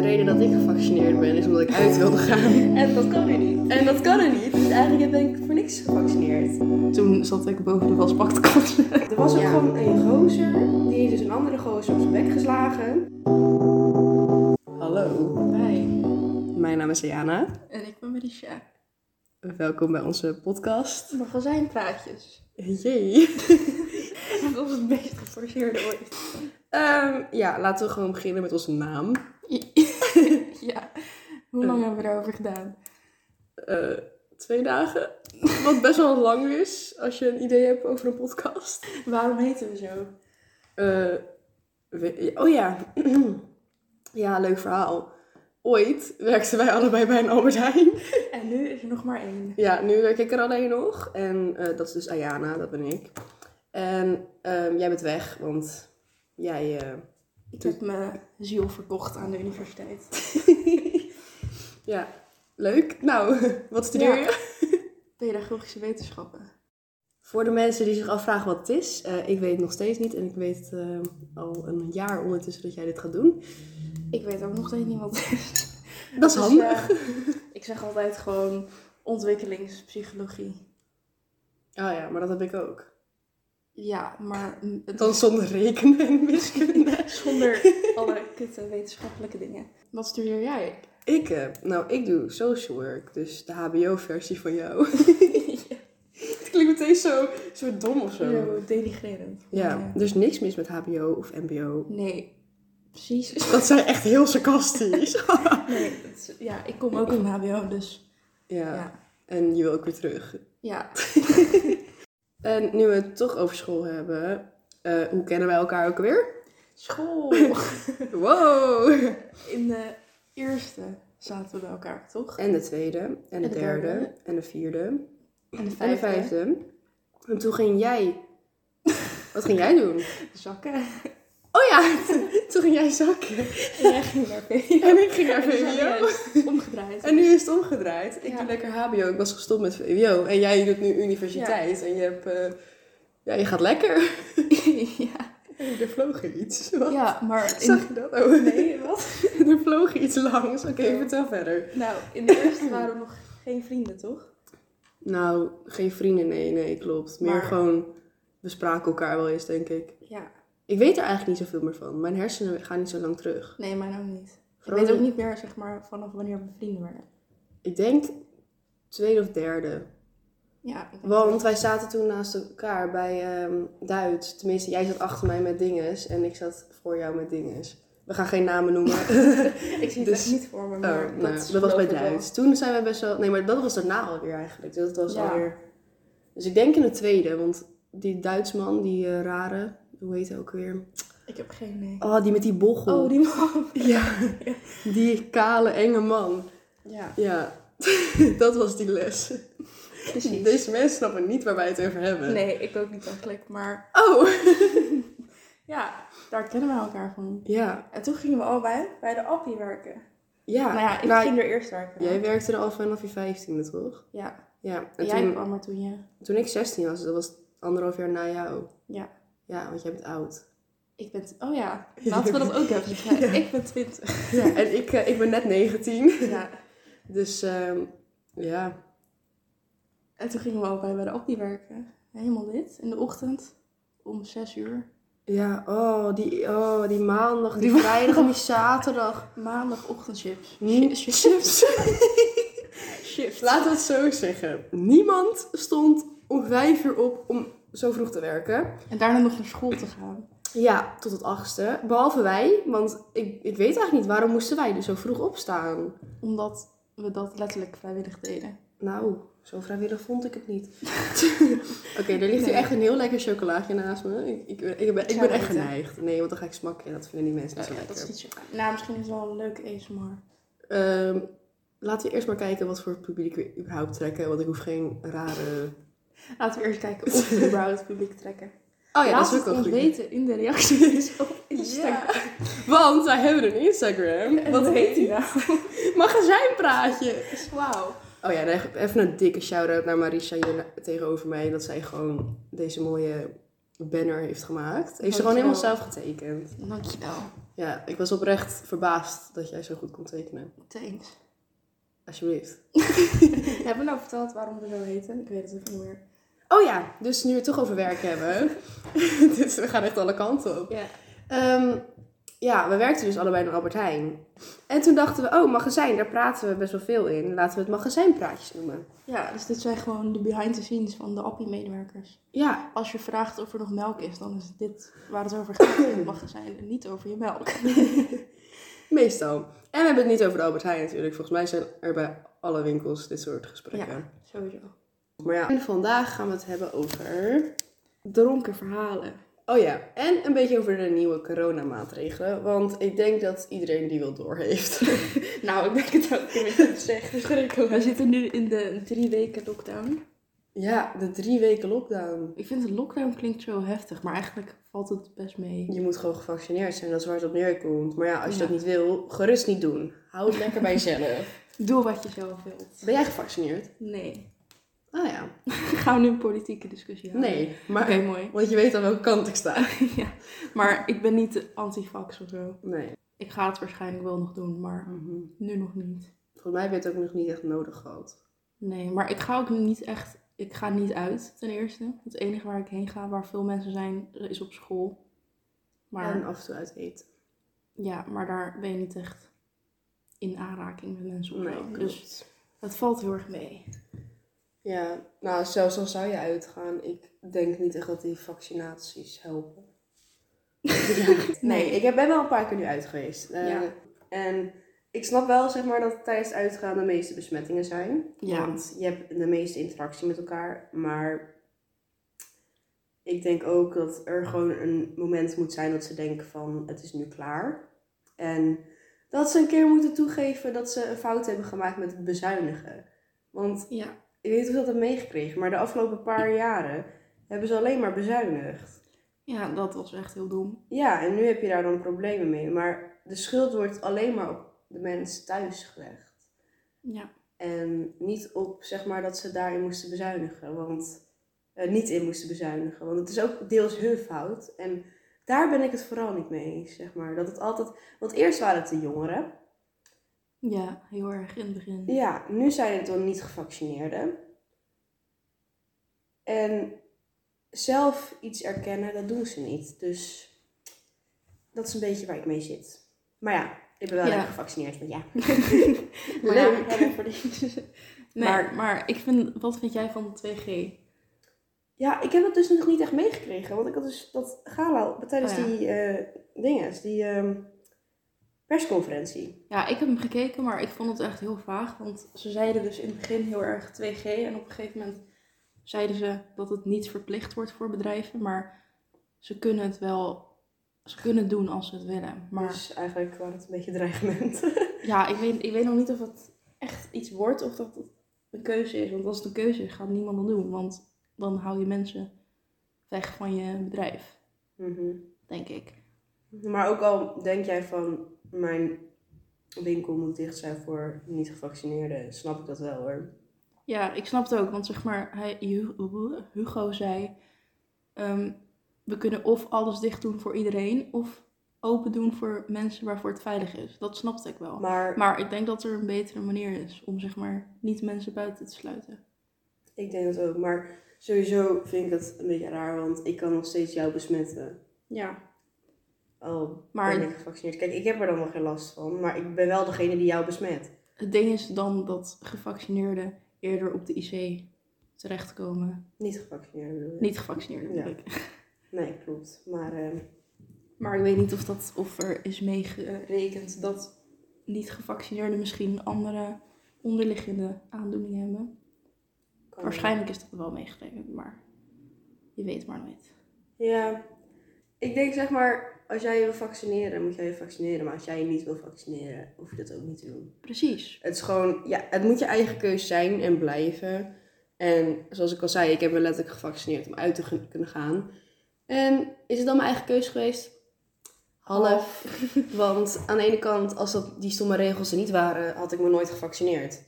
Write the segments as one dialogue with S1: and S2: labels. S1: reden dat ik gevaccineerd ben is omdat ik uit wilde gaan.
S2: En dat kan nu niet.
S1: En dat kan er niet.
S2: Dus eigenlijk ben ik voor niks gevaccineerd.
S1: Toen zat ik boven de wasbaktkast.
S2: Er was ook
S1: Ja.
S2: gewoon een gozer, die heeft dus een andere gozer op zijn bek geslagen.
S1: Hallo,
S3: Hi.
S1: mijn naam is Jana.
S3: En ik ben Marisha.
S1: Welkom bij onze podcast.
S3: Magazijnpraatjes.
S1: Jee.
S3: Dat was het meest geforceerde ooit.
S1: Ehm, ja, laten we gewoon beginnen met onze naam.
S3: ja. Hoe lang hebben we erover gedaan?
S1: Eh, twee dagen. Wat best wel lang is als je een idee hebt over een podcast.
S3: Waarom heten we zo?
S1: Eh, we- oh ja. ja, leuk verhaal. Ooit werkten wij allebei bij een Albert Heijn.
S3: En nu is er nog maar één.
S1: Ja, nu werk ik er alleen nog. En eh, dat is dus Ayana, dat ben ik. En ehm, jij bent weg, want jij... eh,
S3: Ik heb mijn ziel verkocht aan de universiteit.
S1: ja, leuk. Nou, wat studeer
S3: Ja.
S1: je?
S3: Pedagogische wetenschappen.
S1: Voor de mensen die zich afvragen wat het is, eh, ik weet het nog steeds niet. En ik weet eh, al een jaar ondertussen dat jij dit gaat doen.
S3: Ik weet ook nog steeds niet wat het is.
S1: Dat is
S3: Dus,
S1: handig.
S3: eh, ik zeg altijd gewoon ontwikkelingspsychologie.
S1: Oh ja, maar dat heb ik ook.
S3: Ja, maar... mm, het
S1: Dan
S3: is-
S1: zonder rekenen en wiskunde.
S3: Zonder alle kutte wetenschappelijke dingen. Wat studeer jij?
S1: ik, eh, nou, ik doe social work, dus de HBO-versie van jou. Het klinkt meteen zo, zo dom of zo.
S3: Zo denigrerend.
S1: Ja, dus niks mis met HBO of MBO.
S3: Nee, precies.
S1: Dat zijn echt heel sarcastisch.
S3: Nee, het is- ja, ik kom ook in HBO, dus
S1: ja.
S3: ja.
S1: en je wil ook weer terug.
S3: Ja,
S1: En nu we het toch over school hebben, eh, hoe kennen wij elkaar ook alweer?
S3: school.
S1: Wow!
S3: In de eerste zaten we bij elkaar, toch?
S1: En de tweede, en de,
S3: de
S1: derde,
S3: derde.
S1: en de vierde,
S3: En de
S1: en de vijfde. En toen ging jij... Wat ging jij doen?
S3: Zakken.
S1: Oh ja, toen ging jij zakken.
S3: En jij ging naar VWO.
S1: En ik ging naar
S3: En we zijn
S1: VWO.
S3: juist Omgedraaid.
S1: En nu is het omgedraaid. Ik
S3: Ja.
S1: doe lekker HBO. Ik was gestopt met VWO. En jij doet nu universiteit. En je hebt... eh, ja, je gaat lekker.
S3: ja.
S1: Er vloog er iets. Wat?
S3: ja, maar in,
S1: Zag je dat? Oh.
S3: nee, wat?
S1: er vloog iets langs. Oké,
S3: Oké.
S1: vertel verder.
S3: Nou, in de eerste waren we nog geen vrienden, toch?
S1: Nou, geen vrienden. Nee, nee, klopt. Meer
S3: Maar-
S1: gewoon... We spraken elkaar wel eens, denk ik.
S3: Ja.
S1: Ik weet er eigenlijk niet zoveel meer van. Mijn hersenen gaan niet zo lang terug.
S3: Nee, mij ook niet. Ik
S1: Vooral
S3: weet ook
S1: niet-
S3: niet meer, zeg maar, vanaf wanneer we vrienden werden.
S1: Ik denk tweede of derde.
S3: Ja. ik denk
S1: Want wij zaten toen naast elkaar bij ehm, Duits. Tenminste, jij zat achter mij met dinges en ik zat voor jou met dinges. We gaan geen namen noemen.
S3: dat. Ik zie het
S1: dus-
S3: echt niet voor me,
S1: Oh,
S3: maar
S1: nou,
S3: Oh, dat, is
S1: dat was bij
S3: geloof ik wel.
S1: Duits. Toen zijn we best wel... Nee, maar dat was daarna alweer eigenlijk. Dus Dat was
S3: Ja.
S1: alweer... Dus ik denk in de tweede, want die Duitsman, die eh, rare... Hoe heet hij ook weer?
S3: Ik heb geen nee.
S1: Oh, die met die bochel.
S3: Oh, die man.
S1: Ja, die kale, enge man.
S3: Ja,
S1: Ja, dat was die les.
S3: precies.
S1: Deze mensen snappen niet waar wij het over hebben.
S3: dus- Nee, ik ook niet eigenlijk, maar
S1: Oh!
S3: ja, daar kennen we elkaar van.
S1: Ja,
S3: En toen gingen we allebei bij de Appie werken.
S1: ja.
S3: nou ja, ik
S1: Nou,
S3: ging er eerst werken.
S1: Jij werkte er al vanaf je vijftiende, toch?
S3: Ja,
S1: Ja.
S3: en
S1: En
S3: jij
S1: toen,
S3: kwam er toen, ja.
S1: toen ik 16 was, dat was anderhalf jaar na jou.
S3: Ja.
S1: Ja, want jij bent oud.
S3: Ik ben, oh ja, laten we dat ook even zeggen. Ik ben 20.
S1: Ja, en ik, eh, ik ben net 19.
S3: Ja.
S1: Dus ehm, ja.
S3: En toen gingen we allebei bij de Appie werken. Helemaal dit, in de ochtend, om 6 uur.
S1: Ja, oh, die, oh, die maandag, die, vrijdag en die zaterdag.
S3: Maandagochtendchips.
S1: Ni-
S3: Chips.
S1: Chips.
S3: Chips.
S1: Laten we het zo zeggen. Niemand stond om vijf uur op om zo vroeg te werken.
S3: En daarna nog naar school te gaan.
S1: Ja, tot het achtste. Behalve wij, want ik, ik weet eigenlijk niet waarom moesten wij dus zo vroeg opstaan.
S3: Omdat we dat letterlijk vrijwillig deden.
S1: Nou, zo vrijwillig vond ik het niet. Oké, er ligt
S3: Nee.
S1: hier echt een heel lekker chocolaatje naast me. Ik, ik, ben- ik ben, ik
S3: zou
S1: ben echt
S3: eten.
S1: geneigd. Nee, want dan ga ik smakken en dat vinden die mensen niet zo
S3: Ja,
S1: lekker.
S3: Eh, dat is niet zo. Nou, misschien is het wel een leuk ASMR.
S1: Ehm, laten we eerst maar kijken wat voor publiek we überhaupt trekken. Want ik hoef geen rare...
S3: Laten we eerst kijken of we überhaupt het publiek trekken.
S1: Oh ja,
S3: Laat
S1: dat is ook
S3: het
S1: een
S3: ons
S1: goed.
S3: weten in de reacties op Instagram.
S1: Ja. Want wij hebben een Instagram.
S3: En
S1: Wat heet
S3: die
S1: die?
S3: nou?
S1: Magazijnpraatje.
S3: Wauw.
S1: Oh ja, dan even een dikke shout-out naar Marisha hier na- tegenover mij. Dat zij gewoon deze mooie banner heeft gemaakt. Heeft ze gewoon
S3: Dankjewel.
S1: helemaal zelf getekend.
S3: Dankjewel.
S1: Ja, ik was oprecht verbaasd dat jij zo goed kon tekenen.
S3: Thanks.
S1: Alsjeblieft.
S3: Hebben we nou verteld waarom we zo heten? Ik weet het even niet meer.
S1: Oh ja, dus nu we het toch over werk hebben. dus we gaan echt alle kanten op.
S3: Ja.
S1: Ehm, ja, we werkten dus allebei in Albert Heijn. En toen dachten we, oh, magazijn, daar praten we best wel veel in. Laten we het magazijnpraatjes noemen.
S3: Ja, dus dit zijn gewoon de behind the scenes van de Appie-medewerkers.
S1: Ja,
S3: Als je vraagt of er nog melk is, dan is dit waar het over gaat in het magazijn en niet over je melk.
S1: meestal. En we hebben het niet over de Albert Heijn natuurlijk. Volgens mij zijn er bij alle winkels dit soort gesprekken.
S3: Sowieso.
S1: Maar ja, en vandaag gaan we het hebben over...
S3: Dronken verhalen.
S1: Oh ja, en een beetje over de nieuwe coronamaatregelen. Want ik denk dat iedereen die wel door heeft.
S3: Nou, ik ben het ook niet meer te zeggen. Schrikkelijk. We zitten nu in de drie weken lockdown.
S1: ja, de drie weken lockdown.
S3: Ik vind de lockdown klinkt zo heftig, maar eigenlijk valt het best mee.
S1: Je moet gewoon gevaccineerd zijn, dat is waar het op neerkomt. Maar ja, als je
S3: Ja.
S1: dat niet wil, gerust niet doen. Hou het lekker bij jezelf.
S3: Doe wat je zelf wilt.
S1: Ben jij gevaccineerd?
S3: Nee.
S1: Ah ja.
S3: Gaan we nu een politieke discussie houden?
S1: Nee,
S3: Oké,
S1: maar...
S3: mooi.
S1: Want je weet aan welke kant ik sta.
S3: ja. Maar ik ben niet antifax of zo.
S1: Nee.
S3: Ik ga het waarschijnlijk wel nog doen, maar
S1: Mhm.
S3: nu nog niet.
S1: Volgens mij heb je het ook nog niet echt nodig gehad.
S3: Nee, maar ik ga ook niet echt... Ik ga niet uit, ten eerste. Het enige waar ik heen ga, waar veel mensen zijn, is op school. Maar,
S1: En af en toe uit eten.
S3: ja, maar daar ben je niet echt in aanraking met mensen of zo.
S1: klopt.
S3: Dus het valt heel erg mee.
S1: Ja, nou zelfs al zou je uitgaan, ik denk niet echt dat die vaccinaties helpen. nee, ik heb- ben wel een paar keer nu uit geweest. Eh,
S3: Ja.
S1: En ik snap wel zeg maar dat tijdens het uitgaan de meeste besmettingen zijn.
S3: Ja.
S1: Want je hebt de meeste interactie met elkaar. Maar ik denk ook dat er gewoon een moment moet zijn dat ze denken van het is nu klaar. En dat ze een keer moeten toegeven dat ze een fout hebben gemaakt met het bezuinigen. Want
S3: Ja.
S1: ik weet niet of je dat hebt meegekregen, maar de afgelopen paar jaren hebben ze alleen maar bezuinigd.
S3: Ja, dat was echt heel dom.
S1: Ja, en nu heb je daar dan problemen mee. Maar de schuld wordt alleen maar op de mens thuis gelegd.
S3: Ja.
S1: En niet op, zeg maar, dat ze daarin moesten bezuinigen. Want, eh, niet in moesten bezuinigen. Want het is ook deels hun fout. En daar ben ik het vooral niet mee eens, zeg maar. Dat het altijd... Want eerst waren het de jongeren.
S3: Ja, heel erg in het begin.
S1: Ja, nu zijn het dan niet gevaccineerden. En zelf iets erkennen, dat doen ze niet. Dus dat is een beetje waar ik mee zit. Maar ja, ik ben wel
S3: Ja.
S1: lekker gevaccineerd, want ja.
S3: Maar
S1: Leuk.
S3: ja, voor die- Nee, maar,
S1: Maar-
S3: ik vind, wat vind jij van 2G?
S1: Ja, ik heb dat dus nog niet echt meegekregen. Want ik had dus dat gala tijdens
S3: Oh ja.
S1: die eh dinges, die ehm, persconferentie.
S3: Ja, ik heb hem gekeken, maar ik vond het echt heel vaag. Want ze zeiden dus in het begin heel erg 2G. En op een gegeven moment zeiden ze dat het niet verplicht wordt voor bedrijven. Maar ze kunnen het wel... Ze kunnen het doen als ze het willen. Maar
S1: Dus eigenlijk waren het een beetje dreigement.
S3: ja, ik weet, ik weet nog niet of het echt iets wordt of dat het een keuze is. Want als het een keuze is, gaat niemand dat doen. Want dan hou je mensen weg van je bedrijf,
S1: Mhm.
S3: denk ik.
S1: Maar ook al denk jij van mijn winkel moet dicht zijn voor niet gevaccineerden, snap ik dat wel hoor.
S3: Ja, ik snap het ook, want zeg maar, hij, Hu- Hugo zei: ehm, We kunnen of alles dicht doen voor iedereen, of open doen voor mensen waarvoor het veilig is. Dat snapte ik wel. Maar,
S1: Maar
S3: ik denk dat er een betere manier is om zeg maar niet mensen buiten te sluiten.
S1: ik denk dat ook. Maar sowieso vind ik dat een beetje raar, want ik kan nog steeds jou besmetten.
S3: Ja.
S1: Al
S3: Maar-
S1: ben ik gevaccineerd. Kijk, ik heb er dan wel geen last van, maar ik ben wel degene die jou besmet.
S3: Het ding is dan dat gevaccineerden eerder op de IC terechtkomen.
S1: Niet gevaccineerd bedoel je?
S3: Niet gevaccineerden,
S1: Ja.
S3: bedoel ik.
S1: Nee, klopt. Maar ehm,
S3: Maar ik weet niet of, dat, of er is meegerekend dat niet-gevaccineerden misschien andere onderliggende aandoeningen hebben.
S1: kan
S3: Waarschijnlijk is dat wel meegerekend, maar je weet maar nooit.
S1: wel. Ja. Ik denk zeg maar, als jij je wil vaccineren, moet jij je vaccineren. Maar als jij je niet wil vaccineren, hoef je dat ook niet te doen.
S3: Precies.
S1: Het is gewoon, ja, het moet je eigen keus zijn en blijven. En zoals ik al zei, ik heb me letterlijk gevaccineerd om uit te ge- kunnen gaan. En is het dan mijn eigen keus geweest? Half. Want aan de ene kant, als dat, die stomme regels er niet waren, had ik me nooit gevaccineerd.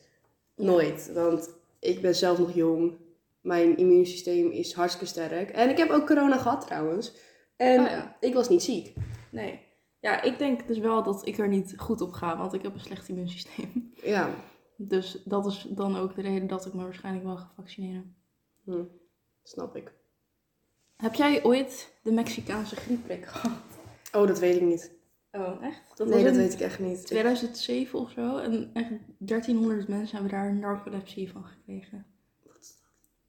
S1: Nooit. Want ik ben zelf nog jong. Mijn immuunsysteem is hartstikke sterk. En ik heb ook corona gehad trouwens. En
S3: Oh ja.
S1: ik was niet ziek.
S3: Nee. Ja, ik denk dus wel dat ik er niet goed op ga, want ik heb een slecht immuunsysteem.
S1: Ja.
S3: Dus dat is dan ook de reden dat ik me waarschijnlijk wel ga vaccineren.
S1: Hm. Snap ik.
S3: Heb jij ooit de Mexicaanse griepprik gehad?
S1: Oh, dat weet ik niet.
S3: Oh, echt?
S1: nee, dat
S3: in
S1: weet ik echt niet.
S3: 2007 of zo. En echt 1300 mensen hebben daar narcolepsie van gekregen.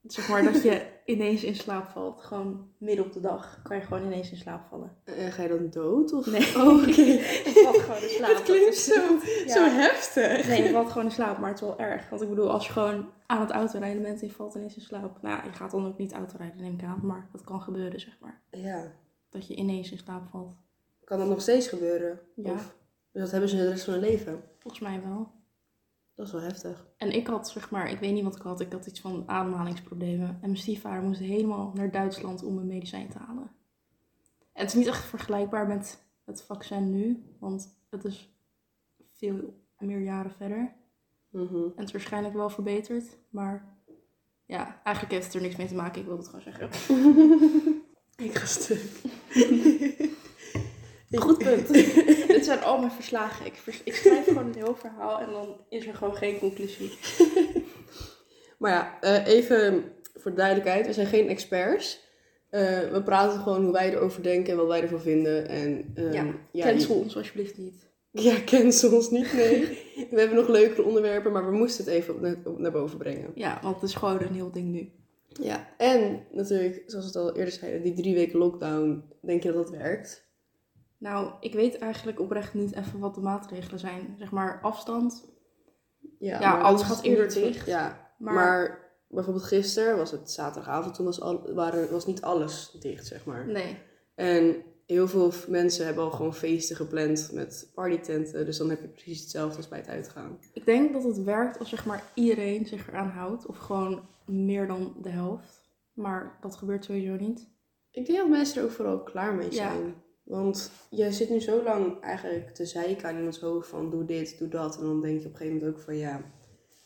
S3: Zeg maar dat je ineens in slaap valt. Gewoon midden op de dag kan je gewoon ineens in slaap vallen.
S1: Eh, ga je dan dood? Of...
S3: Nee.
S1: Oh, oké.
S3: Ik valt gewoon in slaap.
S1: Het klinkt zo,
S3: Ja.
S1: zo heftig.
S3: Nee, je valt gewoon in slaap, maar het is wel erg. Want ik bedoel, als je gewoon aan het autorijden bent en je valt ineens in slaap. Nou ja, je gaat dan ook niet autorijden, neem ik aan. Maar dat kan gebeuren, zeg maar.
S1: Ja.
S3: Dat je ineens in slaap valt.
S1: Kan dat nog steeds gebeuren?
S3: Ja.
S1: Of- dus dat hebben ze de rest van hun leven.
S3: Volgens mij wel.
S1: Dat is wel heftig.
S3: En ik had, zeg maar, ik weet niet wat ik had. Ik had iets van ademhalingsproblemen. En mijn stiefvader moest helemaal naar Duitsland om mijn medicijn te halen. En het is niet echt vergelijkbaar met het vaccin nu. Want het is veel meer jaren verder. En
S1: Mhm.
S3: het is waarschijnlijk wel verbeterd. Maar ja, eigenlijk heeft het er niks mee te maken. Ik wil het gewoon zeggen.
S1: Ik ga stuk.
S3: Goed punt. Dit zijn al mijn verslagen. Ik, vers- ik schrijf gewoon een heel verhaal en dan is er gewoon geen conclusie.
S1: Maar ja, eh, even voor de duidelijkheid. We zijn geen experts. Eh, we praten gewoon hoe wij erover denken en wat wij ervan vinden. En, ehm,
S3: Ja,
S1: ja,
S3: Cancel ons alsjeblieft niet.
S1: Ja, cancel ons niet, nee. we hebben nog leukere onderwerpen, maar we moesten het even op- naar- op- naar boven brengen.
S3: Ja, want het is gewoon een heel ding nu.
S1: Ja, en natuurlijk, zoals we het al eerder zeiden, die drie weken lockdown. Denk je dat dat werkt?
S3: Nou, ik weet eigenlijk oprecht niet even wat de maatregelen zijn. Zeg maar afstand. Ja,
S1: maar dat
S3: alles
S1: is
S3: gaat eerder
S1: niet ver-
S3: dicht.
S1: Ja, Maar,
S3: Maar,
S1: bijvoorbeeld gisteren was het zaterdagavond, toen was, al, waren, was niet alles dicht, zeg maar.
S3: nee.
S1: En heel veel f- mensen hebben al gewoon feesten gepland met partytenten. Dus dan heb je precies hetzelfde als bij het uitgaan.
S3: Ik denk dat het werkt als zeg maar iedereen zich eraan houdt. Of gewoon meer dan de helft. Maar dat gebeurt sowieso niet.
S1: Ik denk dat mensen er ook vooral klaar mee
S3: Ja.
S1: zijn. Want jij zit nu zo lang eigenlijk te zeiken aan iemands hoofd van doe dit, doe dat. En dan denk je op een gegeven moment ook van ja,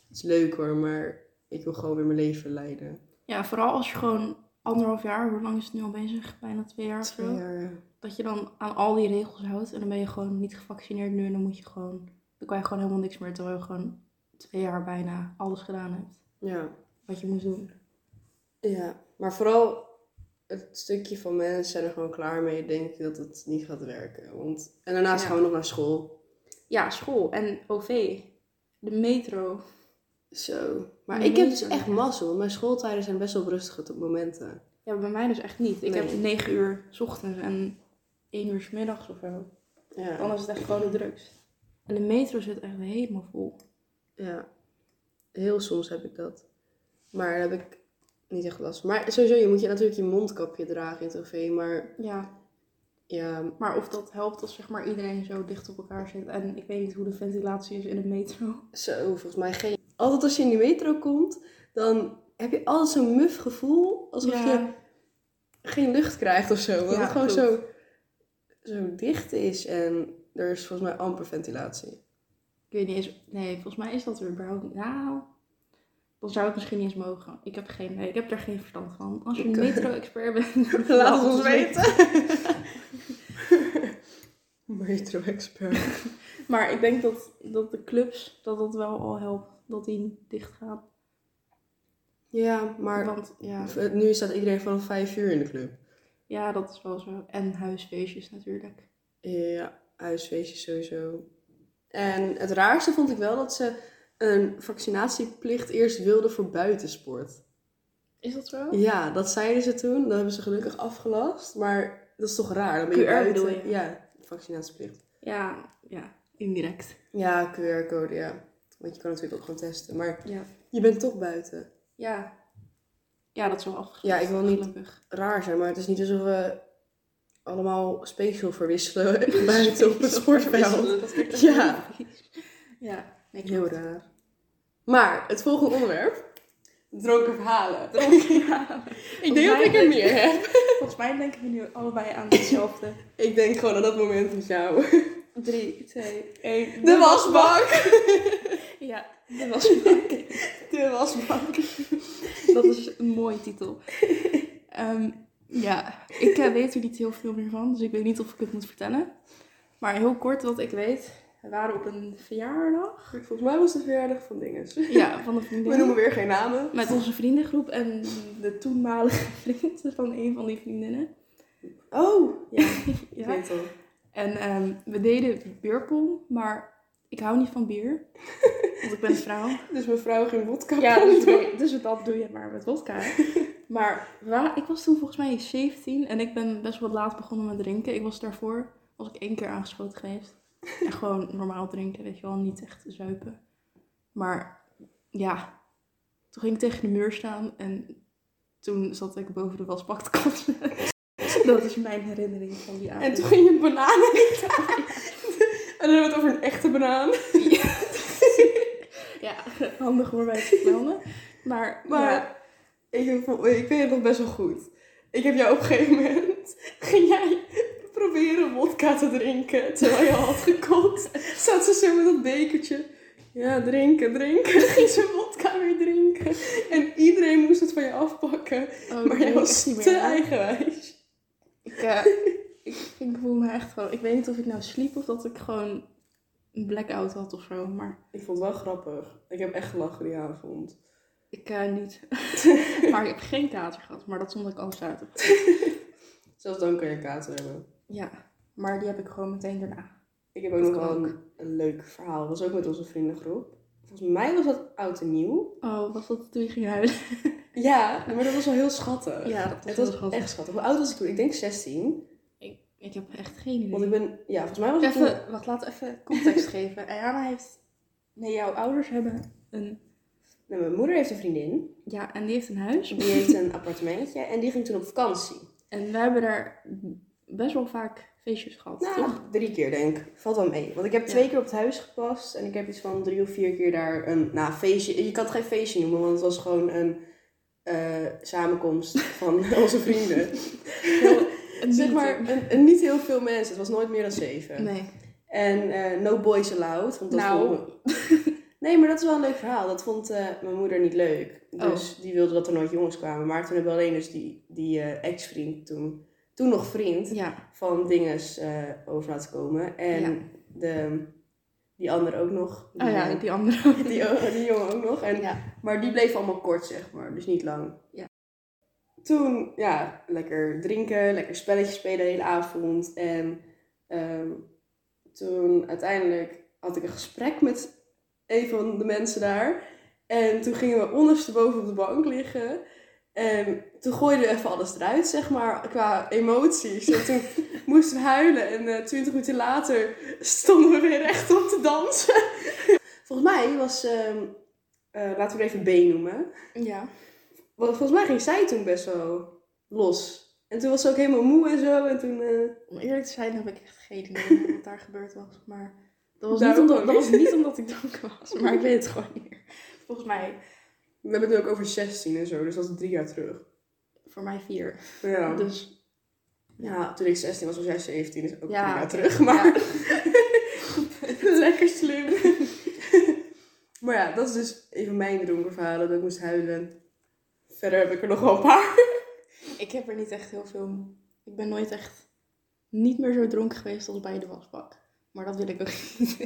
S1: het is leuk hoor, maar ik wil gewoon weer mijn leven leiden.
S3: Ja, vooral als je gewoon anderhalf jaar, hoe lang is het nu al bezig? Bijna twee jaar of zo.
S1: Twee jaar, ja.
S3: Dat je dan aan al die regels houdt. En dan ben je gewoon niet gevaccineerd nu. En dan moet je gewoon. Dan kan je gewoon helemaal niks meer. Terwijl je gewoon twee jaar bijna alles gedaan hebt.
S1: ja.
S3: Wat je moest doen.
S1: Ja, maar vooral het stukje van mensen zijn er gewoon klaar mee, denk ik dat het niet gaat werken. Want, en daarnaast
S3: Ja.
S1: gaan we nog naar school.
S3: Ja, school en OV. De metro.
S1: Zo. Maar
S3: Nee,
S1: ik heb dus
S3: zo.
S1: echt mazzel, want mijn schooltijden zijn best wel rustige tot momenten.
S3: Ja, bij mij dus echt niet. Ik
S1: Nee.
S3: heb 9 uur 's ochtends en 1 uur 's middags of zo. Dan
S1: Ja.
S3: is het echt gewoon de drukst. En de metro zit echt helemaal vol.
S1: ja. Heel soms heb ik dat. Maar daar heb ik niet echt last van. Maar sowieso, je moet je natuurlijk je mondkapje dragen in het OV. Maar
S3: Ja,
S1: ja,
S3: maar of dat helpt als zeg maar iedereen zo dicht op elkaar zit. En ik weet niet hoe de ventilatie is in de metro.
S1: Zo, volgens mij geen. Altijd als je in die metro komt, dan heb je altijd zo'n muf gevoel. Alsof je
S3: Ja.
S1: geen lucht krijgt of zo. Want
S3: Ja,
S1: het gewoon
S3: klopt.
S1: zo, zo dicht is en er is volgens mij amper ventilatie.
S3: Ik weet niet eens. Nee, volgens mij is dat er überhaupt niet. Nou, dan zou het misschien niet eens mogen. Ik heb geen. Nee, ik heb daar geen verstand van. Als je een
S1: Ik-
S3: metro-expert bent, laat,
S1: Laat
S3: het
S1: ons weten. Metro-expert.
S3: Maar ik denk dat, dat de clubs, dat dat wel al helpt. Dat die dicht gaan.
S1: Ja, maar
S3: Want ja,
S1: nu staat iedereen vanaf vijf uur in de club.
S3: ja, dat is wel zo. En huisfeestjes natuurlijk.
S1: Ja, huisfeestjes sowieso. En het raarste vond ik wel dat ze een vaccinatieplicht eerst wilden voor buitensport.
S3: Is dat zo?
S1: Ja, dat zeiden ze toen. Dat hebben ze gelukkig afgelast. Maar dat is toch raar? Dan ben je
S3: QR
S1: buiten.
S3: bedoel je?
S1: Ja, vaccinatieplicht.
S3: Ja, ja, indirect.
S1: Ja, QR-code, ja. Want je kan natuurlijk ook gewoon testen. Maar
S3: Ja.
S1: je bent toch buiten.
S3: Ja. Ja, dat is wel afgesloten.
S1: Ja, ik wil niet-
S3: Gelukkig.
S1: Raar zijn, maar het is niet alsof we allemaal speeksel verwisselen buiten op het sportveld.
S3: Dat wordt echt
S1: Ja.
S3: heel vies. Ja. Nee,
S1: Heel
S3: klopt.
S1: raar. Maar het volgende onderwerp. Dronken verhalen.
S3: Ja.
S1: Ik denk dat ik er meer heb.
S3: Volgens mij denken we nu allebei aan hetzelfde.
S1: Ik denk gewoon aan dat moment met jou.
S3: 3, 2, 1.
S1: De wasbak!
S3: Ja, de wasbak.
S1: De wasbak.
S3: Dat is een mooie titel. Ehm, ja, ik eh, weet er niet heel veel meer van, dus ik weet niet of ik het moet vertellen. Maar heel kort wat ik weet, we waren op een verjaardag.
S1: Volgens mij was het de verjaardag van dinges.
S3: Ja, van een vriendin.
S1: We noemen weer geen namen.
S3: Met onze vriendengroep en de toenmalige vriend van een van die vriendinnen.
S1: Oh, ja, ik
S3: Ja.
S1: weet al.
S3: En ehm, we deden bierpong, maar ik hou niet van bier. Want ik ben een vrouw.
S1: Dus mevrouw ging wodka
S3: Ja,
S1: proeven.
S3: dus, dat- dus dat doe je maar met wodka. Maar wa- ik was toen volgens mij 17 en ik ben best wel laat begonnen met drinken. Ik was daarvoor, was ik één keer aangeschoten geweest. En gewoon normaal drinken, weet je wel, niet echt zuipen. Maar ja, toen ging ik tegen de muur staan en toen zat ik boven de wasbak te kotsen. Dat is mijn herinnering van die avond.
S1: En toen ging je een banaan eten. en dan hebben we het over een echte banaan.
S3: Ja, handig hoor bij het vermelden. Maar,
S1: Maar
S3: ja,
S1: ik, heb vol- ik weet het nog best wel goed. Ik heb jou op een gegeven moment... Ging jij proberen wodka te drinken terwijl je al had gekotst. Zat ze zo met dat bekertje. Ja, drinken, drinken. Ging ze wodka weer drinken. En iedereen moest het van je afpakken.
S3: oh,
S1: Maar jij
S3: ik
S1: was
S3: weet het
S1: te
S3: meer.
S1: eigenwijs.
S3: Ik, eh, ik, ik voel me echt gewoon... Ik weet niet of ik nou sliep of dat ik gewoon een blackout had of zo. Maar
S1: Ik vond het wel grappig. Ik heb echt gelachen die avond.
S3: ik eh, niet. maar ik heb geen kater gehad. Maar dat is omdat ik alles uit heb.
S1: Zelfs dan kan je kater hebben.
S3: Ja, maar die heb ik gewoon meteen daarna.
S1: Ik heb ook
S3: Dat
S1: nog wel
S3: kan
S1: een, een leuk verhaal. Dat was ook met onze vriendengroep. Volgens mij was dat oud en nieuw.
S3: Oh, was dat toen je ging huilen?
S1: Ja, maar dat was wel heel schattig.
S3: Ja, dat was
S1: het
S3: heel
S1: was
S3: schattig.
S1: echt schattig. Hoe oud was ik toen? Ik denk 16.
S3: Ik heb echt geen idee.
S1: Want ik ben, ja, volgens mij was ik toen...
S3: Even, wacht, laat even context geven. Ayana heeft... Nee, jouw ouders hebben een...
S1: Nee, mijn moeder heeft een vriendin.
S3: Ja, en die heeft een huis.
S1: Die heeft een appartementje en die ging toen op vakantie.
S3: En we hebben daar best wel vaak feestjes gehad,
S1: Nou,
S3: toch?
S1: drie keer denk ik. Valt wel mee. Want ik heb
S3: Ja.
S1: twee keer op het huis gepast. En ik heb iets van drie of vier keer daar een nou, feestje. Je kan het geen feestje noemen, want het was gewoon een eh, samenkomst van onze vrienden.
S3: Een
S1: zeg maar, een, een niet heel veel mensen. Het was nooit meer dan zeven.
S3: Nee.
S1: En eh, no boys allowed. Want dat
S3: Nou.
S1: vond ik- Nee, maar dat is wel een leuk verhaal. Dat vond eh, mijn moeder niet leuk. Dus
S3: Oh.
S1: die wilde dat er nooit jongens kwamen. Maar toen hebben we alleen dus die, die eh, ex-vriend toen, toen nog vriend,
S3: Ja.
S1: van dinges eh, over laten komen. En
S3: Ja.
S1: de, die andere ook nog. Die,
S3: Oh ja, die andere.
S1: die, die jongen ook nog. En
S3: Ja.
S1: maar die bleef allemaal kort, zeg maar. Dus niet lang.
S3: Ja.
S1: Toen, ja, lekker drinken, lekker spelletjes spelen de hele avond. En ehm, toen uiteindelijk had ik een gesprek met een van de mensen daar. En toen gingen we ondersteboven op de bank liggen. En toen gooiden we even alles eruit, zeg maar, qua emoties. En toen moesten we huilen. En eh, twintig minuten later stonden we weer recht op te dansen. Volgens mij was ehm, eh, laten we het even B noemen.
S3: Ja.
S1: Want volgens mij ging zij toen best wel los. En toen was ze ook helemaal moe en zo. En toen, eh,
S3: Om eerlijk te zijn heb ik echt geen idee wat daar gebeurd was. Maar dat was,
S1: Daar
S3: niet
S1: ook
S3: omdat,
S1: ook
S3: dat was
S1: niet.
S3: niet omdat ik dronken was. Maar ik weet het gewoon niet meer. Volgens mij,
S1: we hebben het nu ook over 16 en zo, dus dat is drie jaar terug.
S3: voor mij vier.
S1: Ja,
S3: Dus
S1: ja toen ik 16 was, was jij 17, is ook
S3: Ja,
S1: drie jaar
S3: oké.
S1: terug. Maar lekker slim. maar ja, dat is dus even mijn dronkenverhalen, dat ik moest huilen. Verder heb ik er nog wel een paar.
S3: ik heb er niet echt heel veel... Ik ben nooit echt niet meer zo dronken geweest als bij de wasbak. Maar dat wil ik ook niet.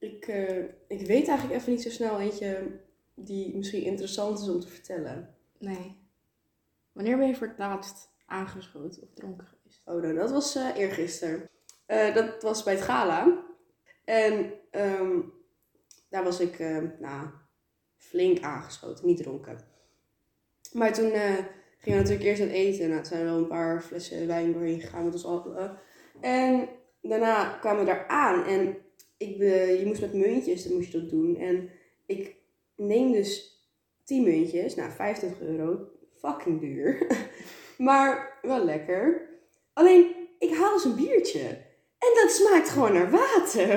S1: Ik, eh, ik weet eigenlijk even niet zo snel eentje die misschien interessant is om te vertellen.
S3: Nee. Wanneer ben je voor het laatst aangeschoten of dronken geweest?
S1: Oh, nou, dat was eh eergisteren. Eh, dat was bij het gala. En ehm, daar was ik eh, nou, flink aangeschoten, niet dronken. Maar toen eh, gingen we natuurlijk eerst aan het eten. Nou, toen zijn er wel een paar flessen wijn doorheen gegaan met ons allen. En daarna kwamen we daar aan. En ik, eh, je moest met muntjes, dan moest je dat doen. En ik neem dus 10 muntjes, nou 25 euro, fucking duur. maar wel lekker. Alleen, ik haal eens een biertje. En dat smaakt gewoon naar water.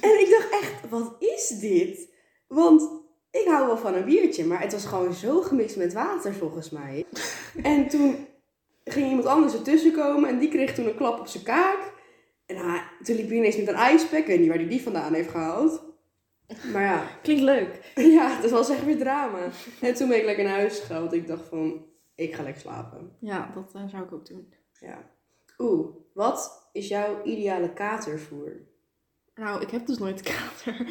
S1: en ik dacht echt, wat is dit? Want ik hou wel van een biertje, maar het was gewoon zo gemixt met water volgens mij. en toen ging iemand anders ertussen komen en die kreeg toen een klap op zijn kaak. En hij- toen liep hij ineens met een ijspack. Ik weet niet waar hij die vandaan heeft gehaald. Maar ja,
S3: Klinkt leuk.
S1: ja, dat was echt weer drama. En toen ben ik lekker naar huis gegaan, want ik dacht van, ik ga lekker slapen.
S3: Ja, dat eh, zou ik ook doen.
S1: Ja. Oeh, wat is jouw ideale katervoer?
S3: Nou, ik heb dus nooit kater.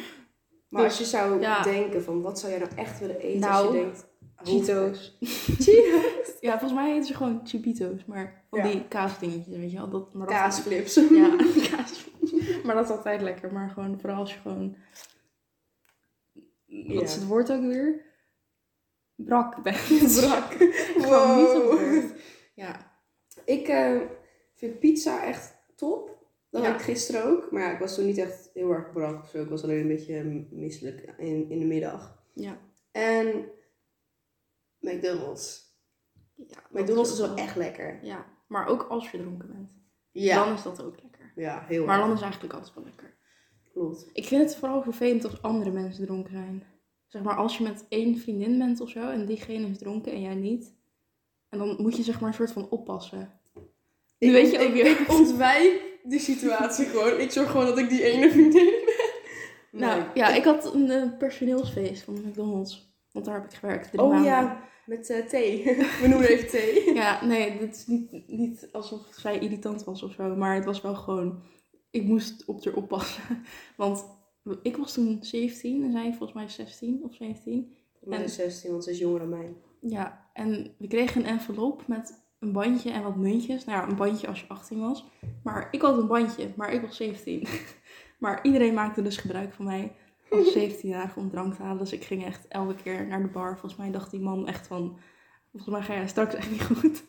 S1: Maar
S3: Dus,
S1: als je zou
S3: ja.
S1: denken van wat zou jij nou echt willen eten
S3: Nou,
S1: als je denkt oh, Cheetos.
S3: Ja, volgens mij heten ze gewoon Chipito's, maar van
S1: Ja.
S3: die kaasdingetjes, weet je wel. Dat, maar dat-
S1: kaasflips.
S3: Ja, kaas. Maar dat is altijd lekker. Maar gewoon, vooral als je gewoon... Wat
S1: Ja.
S3: is het woord ook weer? Brak bent.
S1: Brak.
S3: Gewoon niet op
S1: Wow.
S3: het woord. Ja.
S1: Ik eh, vind pizza echt top. Dat
S3: Ja.
S1: had ik gisteren ook. Maar ja, ik was toen niet echt heel erg brak of zo. Ik was alleen een beetje eh, misselijk in, in de middag.
S3: Ja.
S1: En McDonald's.
S3: ja
S1: McDonald's is wel
S3: ook
S1: echt lekker.
S3: Ja, maar ook als je dronken bent.
S1: Ja.
S3: Dan is dat ook lekker.
S1: Ja, heel
S3: Maar
S1: erg.
S3: dan is eigenlijk altijd wel lekker.
S1: Klopt.
S3: Ik vind het vooral vervelend als andere mensen dronken zijn. Zeg maar, als je met één vriendin bent of zo en diegene is dronken en jij niet. En dan moet je zeg maar een soort van oppassen. Nu weet je ook
S1: ik,
S3: weer.
S1: ik ontwijk die situatie gewoon. Ik zorg gewoon dat ik die ene vriendin ben.
S3: Nou ja, ik had een eh, personeelsfeest van McDonald's. Want daar heb ik gewerkt drie
S1: Oh
S3: maanden.
S1: ja, met eh, thee. We noemen even thee.
S3: Ja, nee, dit is niet, niet alsof zij irritant was of zo. Maar het was wel gewoon... Ik moest op haar oppassen. Want ik was toen 17 en zij volgens mij 16 of 17.
S1: Ik ben 16, want ze is jonger dan mij.
S3: Ja, en we kregen een envelop met een bandje en wat muntjes. Nou ja, een bandje als je 18 was. Maar ik had een bandje, maar ik was 17. Maar iedereen maakte dus gebruik van mij als 17-jarige om drank te halen. Dus ik ging echt elke keer naar de bar. Volgens mij dacht die man echt van, volgens mij ga jij straks echt niet goed.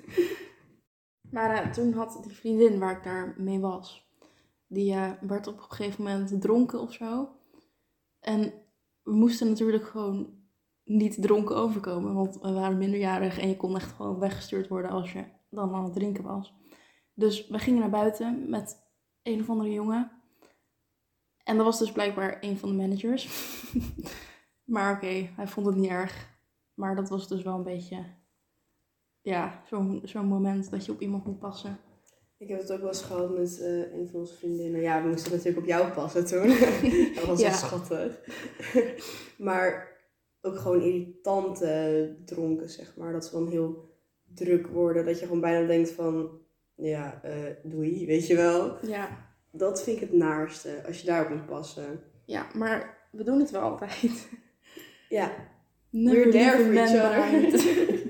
S3: Maar eh, toen had die vriendin waar ik daar mee was, die eh, werd op een gegeven moment dronken of zo. En we moesten natuurlijk gewoon niet dronken overkomen, want we waren minderjarig en je kon echt gewoon weggestuurd worden als je dan aan het drinken was. Dus we gingen naar buiten met een of andere jongen. En dat was dus blijkbaar een van de managers. maar oké, hij vond het niet erg. Maar dat was dus wel een beetje, ja, zo'n zo'n moment dat je op iemand moet passen.
S1: Ik heb het ook wel eens gehad met eh, een van onze vriendinnen. Ja, we moesten natuurlijk op jou passen toen. dat was
S3: Ja.
S1: wel schattig. maar ook gewoon irritant eh, dronken, zeg maar. Dat ze dan heel druk worden. Dat je gewoon bijna denkt van... Ja, eh, doei, weet je wel.
S3: Ja.
S1: Dat vind ik het naarste, als je daarop moet passen.
S3: ja, maar we doen het wel altijd.
S1: Ja.
S3: Never
S1: there
S3: leave a
S1: for
S3: man
S1: each other.
S3: behind.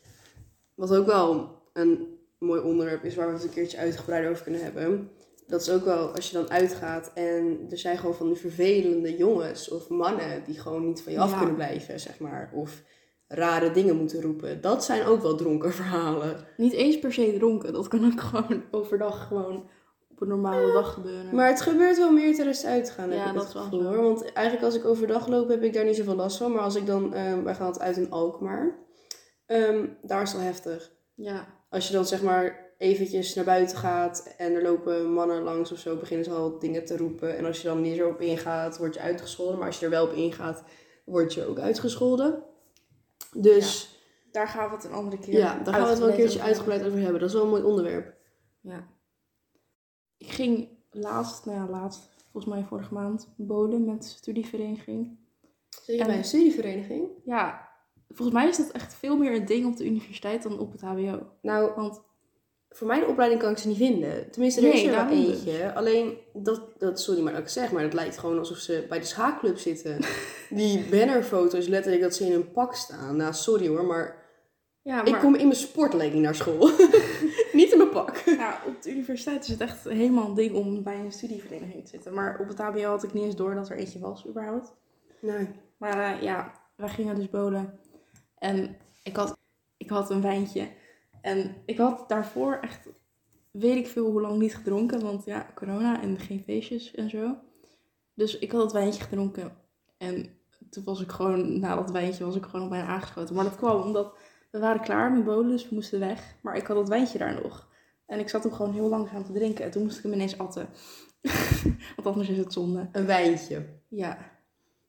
S1: Wat ook wel een mooi onderwerp is waar we het een keertje uitgebreid over kunnen hebben. Dat is ook wel als je dan uitgaat en er zijn gewoon van die vervelende jongens of mannen die gewoon niet van je af
S3: Ja.
S1: kunnen blijven, zeg maar. Of rare dingen moeten roepen. Dat zijn ook wel dronken verhalen.
S3: Niet eens per se dronken. Dat kan ook gewoon overdag gewoon op een normale dag gebeuren.
S1: Maar het gebeurt wel meer tijdens het uitgaan, heb
S3: Ja,
S1: ik
S3: dat
S1: dat het
S3: wel
S1: gevoel
S3: zo.
S1: hoor. Want eigenlijk als ik overdag loop heb ik daar niet zoveel last van. Maar als ik dan, ehm, wij gaan altijd uit in Alkmaar. Ehm, daar is het wel heftig.
S3: Ja.
S1: Als je dan zeg maar eventjes naar buiten gaat en er lopen mannen langs of zo, beginnen ze al dingen te roepen. En als je dan niet erop ingaat, word je uitgescholden. Maar als je er wel op ingaat, word je ook uitgescholden. Dus
S3: Daar gaan we het een andere keer
S1: ja, daar gaan we het wel een keertje
S3: over
S1: uitgebreid over hebben. Dat is wel een mooi onderwerp.
S3: hebben. Ja. Ik ging laatst, nou ja, laatst, volgens mij vorige maand, bolen met de studievereniging.
S1: Zit
S3: je bij een
S1: studievereniging?
S3: Ja, volgens mij is dat echt veel meer een ding op de universiteit dan op het HBO.
S1: Nou,
S3: Want
S1: voor mijn opleiding kan ik ze niet vinden. Tenminste, er
S3: Nee,
S1: is er wel
S3: daarom dus.
S1: eentje. Alleen, dat, dat, sorry maar dat ik het zeg, maar het lijkt gewoon alsof ze bij de schaakclub zitten. Die bannerfoto's, letterlijk dat ze in een pak staan. Nou, sorry hoor, maar
S3: ja, Ah, maar
S1: Ik kom in mijn sportlegging naar school. Niet in mijn pak.
S3: ja, op de universiteit is het echt helemaal een ding om bij een studievereniging te zitten. Maar op het HBO had ik niet eens door dat er eentje was, überhaupt.
S1: Nee.
S3: Maar eh, ja, wij gingen dus bolen. En ik had, ik had een wijntje. En ik had daarvoor echt, weet ik veel hoe lang niet gedronken. Want ja, corona en geen feestjes en zo. Dus ik had het wijntje gedronken. En toen was ik gewoon, na dat wijntje was ik gewoon bijna aangeschoten. Maar dat kwam omdat we waren klaar met bolen, dus we moesten weg. Maar ik had dat wijntje daar nog. En ik zat hem gewoon heel langzaam te drinken. En toen moest ik hem ineens atten. want anders is het zonde.
S1: Een wijntje.
S3: Ja.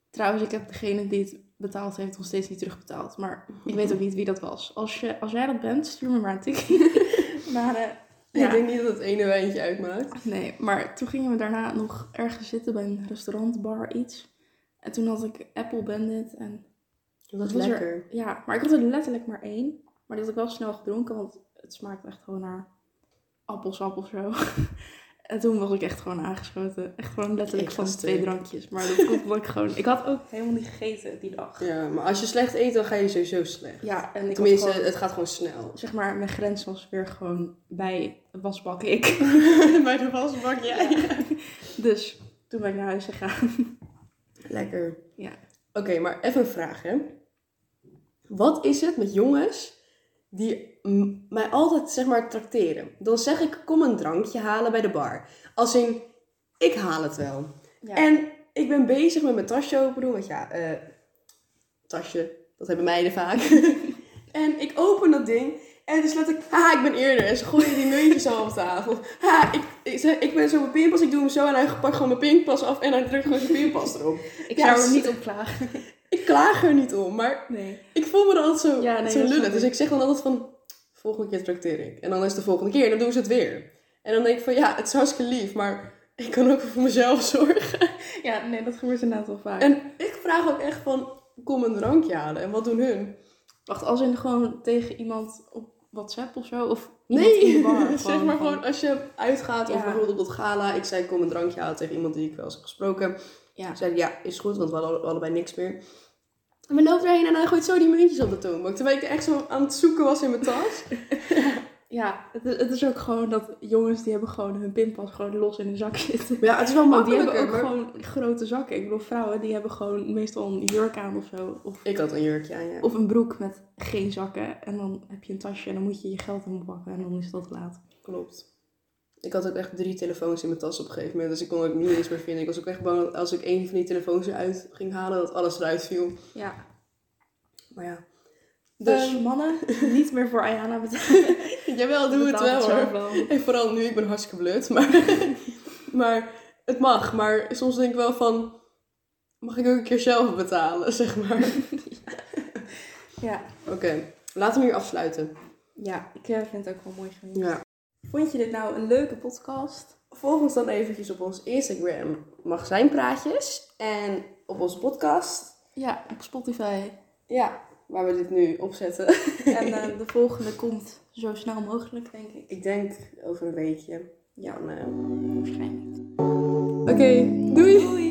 S3: Trouwens, ik heb degene die het betaald heeft nog steeds niet terugbetaald. Maar ik weet ook niet wie dat was. Als, je, als jij dat bent, stuur me maar een tikje. maar eh, ja.
S1: Ik denk niet dat het ene wijntje uitmaakt.
S3: Nee, maar toen gingen we daarna nog ergens zitten bij een restaurant, bar, iets. En toen had ik Apple Bandit en
S1: Dat
S3: was er- ja, maar ik had er letterlijk maar één. Maar die had ik wel snel gedronken, want het smaakt echt gewoon naar appelsap of zo. En toen was ik echt gewoon aangeschoten. Echt gewoon letterlijk
S1: Ik
S3: van
S1: was
S3: twee
S1: stuk.
S3: drankjes. Maar dat komt omdat ik gewoon... Ik had ook helemaal niet gegeten die dag.
S1: Ja, maar als je slecht eet, dan ga je sowieso slecht.
S3: Ja, en ik had
S1: Tenminste,
S3: gewoon...
S1: het gaat gewoon snel.
S3: Zeg maar, mijn grens was weer gewoon bij wasbak ik.
S1: Bij de wasbak, jij.
S3: Dus toen ben ik naar huis gegaan.
S1: Lekker.
S3: Ja.
S1: Oké, maar even een vraag, hè. Wat is het met jongens die mm, mij altijd, zeg maar, trakteren? Dan zeg ik, kom een drankje halen bij de bar. Als in, ik haal het wel.
S3: Ja.
S1: En ik ben bezig met mijn tasje open doen, want ja, eh, tasje, dat hebben meiden vaak. en ik open dat ding en het is letterlijk, haha, ik ben eerder. En ze gooien die muntjes al op tafel. Ha, ik, ik, zeg, ik ben zo mijn pinpas, ik doe hem zo en hij pakt gewoon mijn pinpas af en hij drukt gewoon zijn pinpas erop.
S3: ik
S1: ja,
S3: zou
S1: s-
S3: er niet op klagen.
S1: Ik klaag er niet om, maar
S3: Nee.
S1: ik voel me dan altijd zo,
S3: Ja, nee,
S1: zo
S3: dat
S1: lullig.
S3: snap ik.
S1: Dus ik zeg dan altijd van, volgende keer trakteer ik. En dan is het de volgende keer en dan doen ze het weer. En dan denk ik van, ja, het is hartstikke lief, maar ik kan ook voor mezelf zorgen.
S3: Ja, nee, dat gebeurt inderdaad wel vaak.
S1: En ik vraag ook echt van, kom een drankje halen. En wat doen hun?
S3: Wacht, als in gewoon tegen iemand op WhatsApp of zo? Of iemand in
S1: Nee,
S3: de bar,
S1: zeg maar
S3: van-
S1: gewoon als je uitgaat of
S3: Ja.
S1: bijvoorbeeld op dat gala. Ik zei, kom een drankje halen tegen iemand die ik wel eens heb gesproken.
S3: Ja.
S1: Zeiden, ja, is goed, want we hadden alle- allebei niks meer. En we lopen erheen en hij gooit zo die muntjes op de toonbank. Terwijl ik er echt zo aan het zoeken was in mijn tas.
S3: Ja, het is, het is ook gewoon dat jongens die hebben gewoon hun pinpas gewoon los in hun zak zitten.
S1: Maar ja, het is wel
S3: Want die
S1: makkelijker.
S3: hebben ook
S1: maar-
S3: gewoon grote zakken. Ik bedoel, vrouwen die hebben gewoon meestal een jurk aan of zo. Of,
S1: Ik had een jurkje aan, ja.
S3: of een broek met geen zakken. En dan heb je een tasje en dan moet je je geld in pakken en dan is dat laat.
S1: Klopt. Ik had ook echt drie telefoons in mijn tas op een gegeven moment. Dus ik kon ook niet eens meer vinden. Ik was ook echt bang dat als ik één van die telefoons eruit ging halen, dat alles eruit viel.
S3: Ja.
S1: Maar ja. Dus,
S3: Dus mannen, niet meer voor Ayana betalen.
S1: Ehm, jawel, doe het
S3: Betaal
S1: wel
S3: zelf
S1: hoor.
S3: wel.
S1: En vooral nu, ik ben hartstikke blut. Maar, maar het mag. Maar soms denk ik wel van, mag ik ook een keer zelf betalen, zeg maar.
S3: Ja.
S1: Oké, laten we hier afsluiten.
S3: ja, ik eh, vind het ook wel mooi genoeg.
S1: Ja.
S3: Vond je dit nou een leuke podcast?
S1: Volg ons dan eventjes op ons Instagram, magazijnpraatjes. En op onze podcast.
S3: Ja, op Spotify.
S1: Ja, waar we dit nu opzetten.
S3: En eh, de volgende komt zo snel mogelijk, denk ik.
S1: Ik denk over een weekje. Ja, nou.
S3: Waarschijnlijk.
S1: Oké, doei!